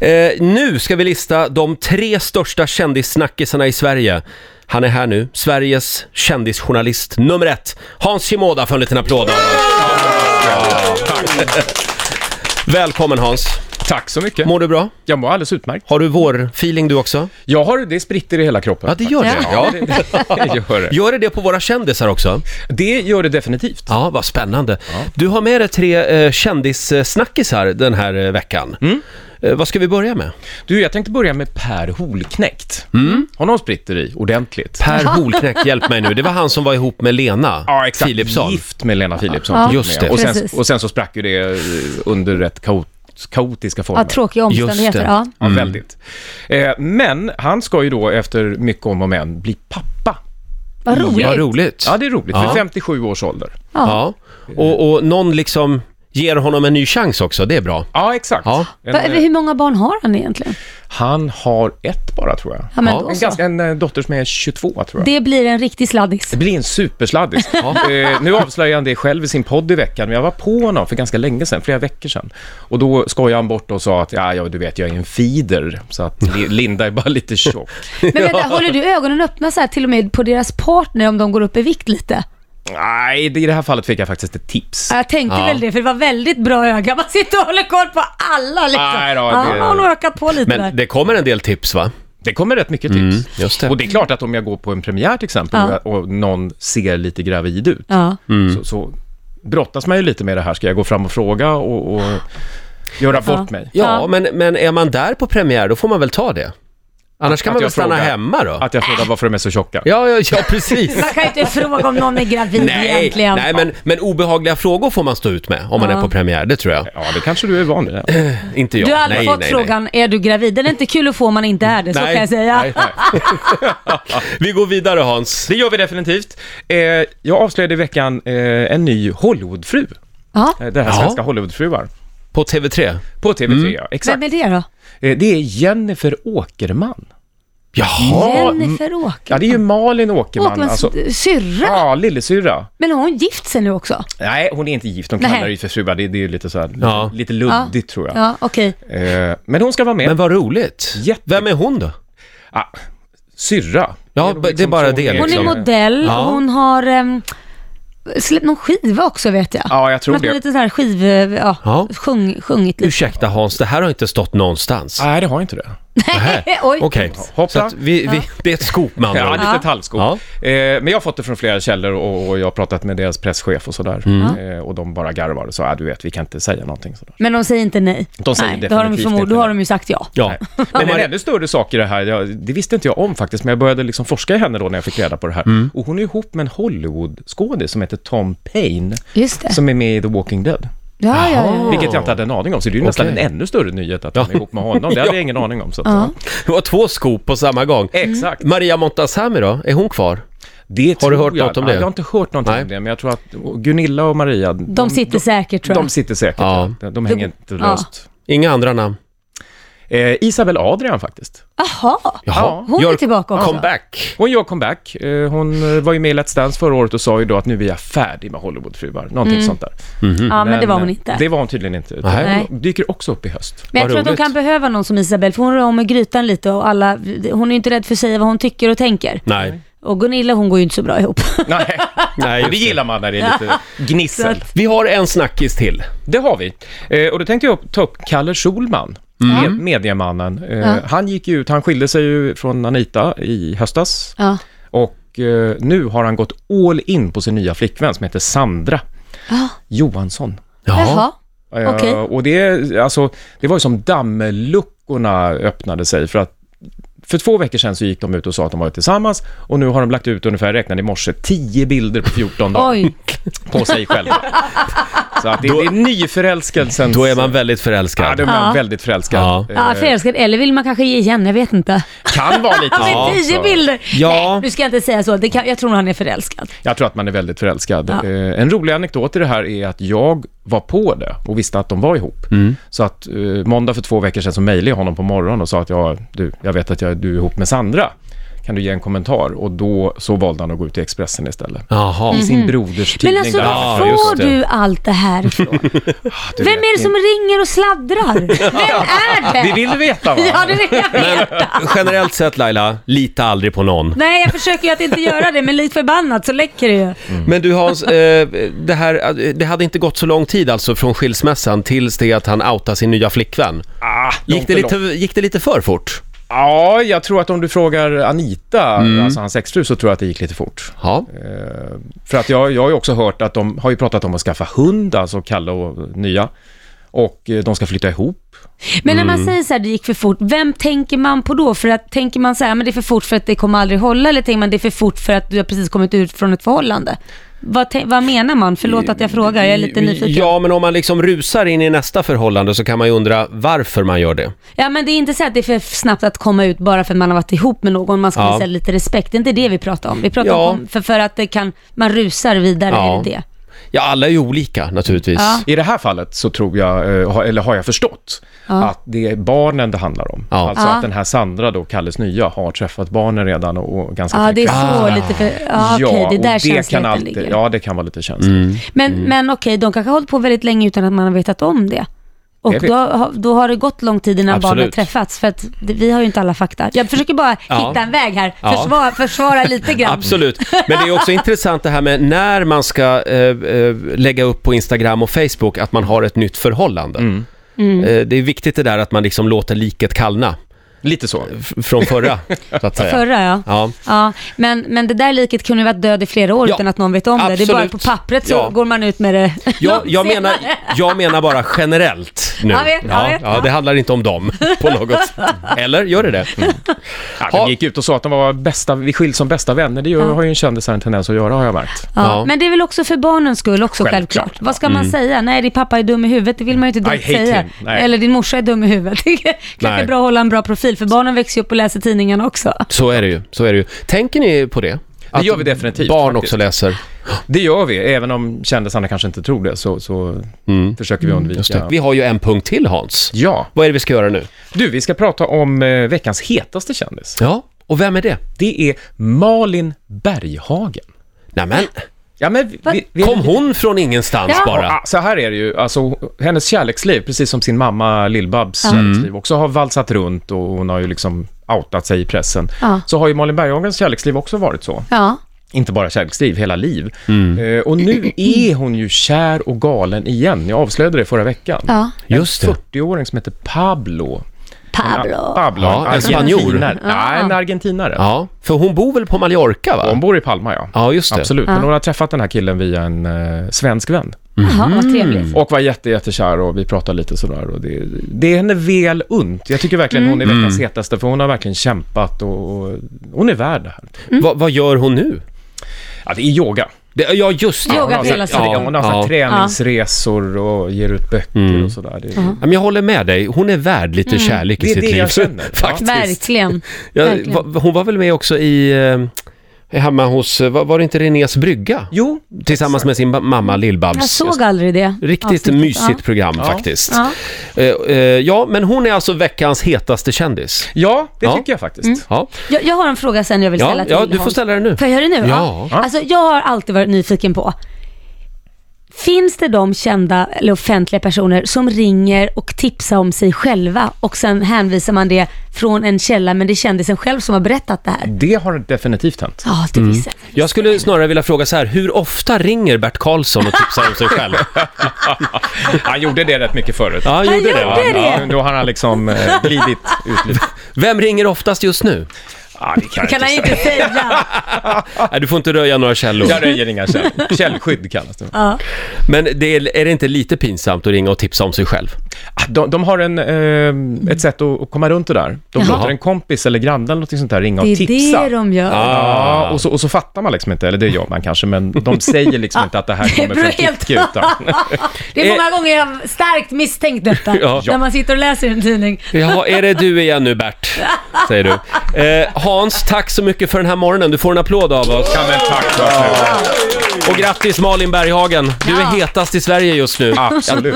Eh, nu ska vi lista de tre största kändissnackisarna i Sverige. Han är här nu, Sveriges kändisjournalist nummer ett, Hans Shimoda för en liten applåd av oss. Välkommen Hans, Tack så mycket. mår du bra? Jag mår alldeles utmärkt. Har du vår-feeling du också? Jag har, det spritter i hela kroppen. Ja, det gör det. Ja, det, det gör det. Gör det det på våra kändisar också? Det gör det definitivt. Ja, vad spännande. Du har med dig tre eh, kändissnackisar den här eh, veckan. Eh, vad ska vi börja med? Du, jag tänkte börja med Per Holknekt. Honom spritter i ordentligt. Mm. Per Holknekt, hjälp mig nu. Det var han som var ihop med Lena Philipsson. Gift med Lena Philipsson. Ja, till Just och med. det. Och sen, precis. och sen så sprack ju det eh, under rätt kao- kaotiska former. Ja, tråkiga det. omständigheter. Ja. Ja, Mm. väldigt. Eh, men han ska ju då efter mycket om och men bli pappa. Vad roligt. Mm, Vad roligt. Ja, det är roligt. Ja. Vid 57 års ålder. Ja. Och, och någon liksom ger honom en ny chans också, det är bra. Ja, exakt. Ja. En, Va, eh, hur många barn har han egentligen? han har ett bara, tror jag. Ja, men Ja, då En, så. ganska, en eh, dotter som är 22 tror jag. Det, Det blir en riktig sladdis. blir en supersladdis. eh, nu avslöjar han det själv i sin podd i veckan, men jag var på honom för ganska länge sedan, flera veckor sedan. Och då skojade han bort och sa att, ja, ja du vet, jag är en feeder, så att Li- Linda är bara lite tjock. Men vänta, håller du ögonen öppna så här till och med på deras partner om de går upp i vikt lite? Nej, det- i det här fallet fick jag faktiskt ett tips. Ja, Jag tänkte Ja. väl det, för det var väldigt bra öga. Man sitter och håller koll på alla liksom. Nej då, ja, det- han har nog ökat på lite där. Men det kommer en del tips va? Det kommer rätt mycket tips. Mm, just det. Och det är klart att om jag går på en premiär till exempel Ja. och och någon ser lite gravid ut, Ja. Mm. så, så brottas man ju lite med det här. Ska jag gå fram och fråga och, och göra bort mig? Ja, Ja. Men, men är man där på premiär då får man väl ta det. Annars kan Att man väl jag stanna frågar- hemma då? Att jag frågar varför de är så tjocka. Ja, ja, ja precis. Man kan ju inte fråga om någon är gravid Nej, egentligen. nej men, men obehagliga frågor får man stå ut med om man Ja. är på premiär, det tror jag. Ja, det kanske du är van vid. Inte jag. Du har aldrig nej, fått nej, nej. frågan, är du gravid? Den är inte kul att få om man inte är det, så Nej. kan jag säga. Nej, nej. Vi går vidare Hans. Det gör vi definitivt. Eh, jag avslöjade i veckan eh, en ny Hollywoodfru. Ja. Eh, Det här Ja. Mm. svenska Hollywoodfruar. På TV3? På TV3, ja. Exakt. Vem är det då? Eh, det är Jennifer Åkerman. Jaha! Jennifer Ja, Åkerman. det är ju Malin Åkerman. Åkermans alltså, syrra. ja, lillasyrra. Men har hon gift sig nu också? Nej, hon är inte gift. De Nej. kallar det ju för fruar. Det, det är ju lite, så här, Ja. lite luddigt, tror jag. Ja, okej. Eh, men hon ska vara med. Men vad roligt. Jätte- Vem är hon då? ah, syrra. Ja, nog det är bara så det, hon Hon är liksom. modell, Ja. hon har um, släppt någon skiva också vet jag. Ja, jag tror Hon har det. lite sån här skiv... eh, Ja, Ja. Sjung, sjungit lite. Ursäkta Hans, det här har inte stått någonstans. Nej, det har inte det. Nej, Oj. Okej, Hoppla. så att vi, vi, det är ett scoop med andra Ja, ord. lite tallskog. Ja. Eh, men jag har fått det från flera källor och, och jag har pratat med deras presschef och sådär. Mm. Eh, och de bara garvar och sa, ja du vet, vi kan inte säga någonting. Sådär. Men de säger inte nej. De säger nej, då har de, definitivt förmod- inte då har nej. de ju sagt ja. Ja. Men en ännu större sak i det här, jag, det visste inte jag om faktiskt, men jag började liksom forska i henne då när jag fick reda på det här. Och hon är ihop med en Hollywood-skådis som heter Tom Payne, Just det. som är med i The Walking Dead. Ja, ja, ja. ja. Vilket jag inte hade en aning om, så det är ju nästan en ännu större nyhet att hon är ihop med honom. Det hade jag ingen aning om. Så att, Ja. Det var två scoop på samma gång. Exakt. Maria Montazami då, är hon kvar? Eh. Det Har du tror hört jag. något om Ja, det? Jag har inte hört någonting Nej. om det, men jag tror att Gunilla och Maria, De sitter säkert tror jag. De sitter säkert. Ja. De, de hänger inte Ja. löst. Inga andra namn? Eh, Isabel Adrian faktiskt. Jaha, Jaha. hon är tillbaka också. Comeback. Hon gör comeback. Eh, hon eh, var ju med i Let's Dance förra året och sa ju då att nu är jag färdig med Hollywoodfruar. Någonting sånt där. Mm. eh, Ja, men det var hon inte. Det var hon tydligen inte. utan Nej. Hon dyker också upp i höst. Men jag Vad tror att de roligt. kan behöva någon som Isabel, för hon rör om i grytan lite och alla, hon är ju inte rädd för att säga vad hon tycker och tänker. Nej. Och Gunilla hon går ju inte så bra ihop. Nej, Nej, just och det det. gillar man när det är lite gnissel. Vi har en snackis till. Det har vi. Eh, och då tänkte jag ta upp Kalle Schulman, Mm. med- mediemannen. Eh, Han gick ju ut, han skilde sig ju från Anita i höstas. Ja. Och eh, nu har han gått all in på sin nya flickvän som heter Sandra Ah. Johansson. Jaha. Eh, Okej. Och det, alltså, det var ju som dammluckorna öppnade sig för att för två veckor sedan så gick de ut och sa att de var tillsammans och nu har de lagt ut ungefär, jag räknade i morse, 10 bilder på 14 dagar Oj. på sig själva. Så att det, det är nyförälskelsen. Då är man väldigt Ja, då är förälskad. man Ja. väldigt förälskad. Ja. Ja, Eh, förälskad. Eller vill man kanske ge igen? Jag vet inte. kan vara lite Ja, så. men tio också. bilder! Ja. Nej, nu ska jag inte säga så. Det kan, jag tror han är förälskad. Jag tror att man är väldigt förälskad. Ja. Eh, en rolig anekdot i det här är att jag var på det och visste att de var ihop. Mm. Så att eh, måndag för två veckor sedan så mejlade jag honom på morgonen och sa att jag, du, jag vet att jag, du är ihop med Sandra. kan du ge en kommentar? Och då så valde han att gå ut i Expressen istället. Jaha. Mm. I sin broders tidning. Men alltså, där. Ja, var just får det. du allt det här ifrån? Ah, Du Vem vet, är det som ringer och sladdrar? Vem är det? Det vill du veta va? Ja, det vill jag veta. Generellt sett Laila, lita aldrig på någon. Nej, jag försöker ju att inte göra det, men likt förbannat så läcker det ju. Men du Hans, eh, det, här, eh, det hade inte gått så lång tid alltså från skilsmässan tills det att han outade sin nya flickvän. Ah, Gick långt det, och lite, långt. gick det lite för fort? Ja, jag tror att om du frågar Anita, Mm. alltså hans exfru, så tror jag att det gick lite fort. Ja. Eh, För att jag, jag har ju också hört att de har ju pratat om att skaffa hund, alltså Kalle och Nya. Och eh, de ska flytta ihop. Men när man säger så här, det gick för fort, vem tänker man på då? För att tänker man så här, men det är för fort för att det kommer aldrig hålla, eller tänker man det är för fort för att du har precis kommit ut från ett förhållande? Vad, tän- vad menar man? Förlåt att jag frågar, jag är lite nyfiken. Ja. Ja, men om man liksom rusar in i nästa förhållande så kan man ju undra varför man gör det. men det är inte så att det är för snabbt att komma ut bara för att man har varit ihop med någon, man ska Ja. visa lite respekt. Det är inte det vi pratar om. Vi pratar Ja. om, för, för att det kan, man rusar vidare, Ja. är det det? Ja, alla är ju olika naturligtvis. Ja. I det här fallet så tror jag, eh, har- eller har jag förstått, att det är barnen det handlar om. Ja. Alltså Ja. att den här Sandra då, Kalles nya, har träffat barnen redan och, och ganska Ja, det är frekvent. så Ah. lite för... Ja, okej, det Ah. och är där kan känsligheten alltid, ligger. Ja, det kan vara lite känsligt. Mm. Men, men okej, de kanske har hållit på väldigt länge utan att man har vetat om det. Och Det vet- då, har- då har det gått lång tid innan Absolut. barnen har träffats, för att det- vi har ju inte alla fakta. Jag försöker bara Ja. hitta en väg här, Ja. försvara, försvara lite grann. Absolut, men det är också intressant det här med när man ska eh, eh, lägga upp på Instagram och Facebook att man har ett nytt förhållande. Mm. Mm. Eh, det är viktigt det där att man liksom låter liket kallna Lite så. f- från förra, så att säga. Förra ja. Ja. Ja, men, men det där liket kunde ju varit död i flera år Ja, utan att någon vet om det. Det är bara absolut. på pappret så Ja. går man ut med det Jag, långt jag, menar, senare. jag menar bara generellt nu. Jag vet, jag ja, vet. ja, det handlar inte om dem på något sätt. Eller, gör det det? Mm. Ja, Ha- de gick ut och sa att de var bästa, vi skiljs som bästa vänner. Det gör, har ju en kändis här en tendens att göra, har jag märkt. Ja, Ja. Mm. Men det är väl också för barnens skull också självklart. Självklart. Vad ska man säga? Nej, din pappa är dum i huvudet, det vill man ju I inte dumt hate säga. him. Nej. Eller din morsa är dum i huvudet. Det är Nej. kanske bra att hålla en bra profil, för barnen växer ju upp och läser tidningarna också. Så är det ju. Så är det ju. Tänker ni på det? Att gör vi definitivt, Barn faktiskt. också läser. Det gör vi, även om kändisarna kanske inte tror det, så, så försöker vi Mm. undvika. Mm. Just det. Vi har ju en punkt till Hans. Ja. Vad är det vi ska göra nu? Du, vi ska prata om eh, veckans hetaste kändis. Ja, och vem är det? Det är Malin Berghagen. Nämen, Ja, men vi, vi, vi, kom hon från ingenstans Ja. bara? Ja, så här är det ju, alltså hennes kärleksliv, precis som sin mamma Lill-Babs Mm. kärleksliv, också har valsat runt och hon har ju liksom outat sig i pressen. Ja. Så har ju Malin Berghagens kärleksliv också varit så. Ja. Inte bara kärleksliv, hela liv. Mm. Eh, och nu är hon ju kär och galen igen. Jag avslöjade det förra veckan. ja. Just det. En 40-åring som heter Pablo. Pablo. Pablo, Ja, en spanjor. argentinare. Nej, en argentinare. Ja, för hon bor väl på Mallorca va? Hon bor i Palma, ja. Ja, just det. Absolut, men hon har träffat den här killen via en eh, svensk vän. Jaha, vad Mm. trevligt. Och var jätte, jättekär och vi pratade lite sådär och det, det är henne väl unt. Jag tycker verkligen hon Mm. är veckans hetaste för hon har verkligen kämpat och, och hon är värd det här. Va, vad gör hon nu? Ja, det är yoga. Det, ja, just det. Yoga Hon har, på så- hela sidan. ja, hon har så här Ja. Mm. träningsresor och ger ut böcker och sådär. Det, Ja, Men jag håller med dig, hon är värd Mm. lite kärlek i Det är sitt det liv. jag känner, ja. Faktiskt. Verkligen. Ja, Verkligen. va, hon var väl med också i, eh, hemma hos, eh, var, var det inte Renés brygga? Jo, Tillsammans med sin ba- mamma Jag Lill-Babs. såg aldrig det. Riktigt avsnittet. mysigt Ja. program Ja. faktiskt. Ja. Eh, eh, ja, men hon är alltså veckans hetaste kändis. ja det Ja. tycker jag faktiskt. Ja, Jag, jag har en fråga sen jag vill ställa ja, till ja du får Hans. ställa den nu. Får jag göra det nu? Ja. Alltså, jag har alltid varit nyfiken på. Finns det de kända eller offentliga personer som ringer och tipsar om sig själva och sen hänvisar man det från en källa men det är kändisen själv som har berättat det här? Det har definitivt hänt. Ja, det visste jag. Jag skulle snarare vilja fråga så här, hur ofta ringer Bert Karlsson och tipsar om sig själv? Han gjorde det rätt mycket förut. Ja, han Han gjorde det. gjorde va? det. Ja, då har han liksom eh, glidit ut lite. Vem ringer oftast just nu? Ja, det kan Det jag kan inte han inte säga. Nej, du får inte röja några källor. Jag röjer inga källor. Källskydd kallas det. Men det är, är det inte lite pinsamt att ringa och tipsa om sig själv? De, de har en, eh, ett sätt att, att komma runt det där. De Jaha. låter en kompis eller granne eller något sånt där ringa och Det är tipsa. det de gör. Ja, och så, och så fattar man liksom inte, eller det gör man kanske, men de säger liksom inte att det här Det kommer beror från helt Kicki. Utan, Det är många gånger jag har starkt misstänkt detta. Ja. När man sitter och läser en tidning. Ja, är det du igen nu Bert? Säger du. Eh, Hans, tack så mycket för den här morgonen. Du får en applåd av oss. ja, men tack Lars Lejon. Och grattis Malin Berghagen. Du är Ja. hetast i Sverige just nu. Absolut.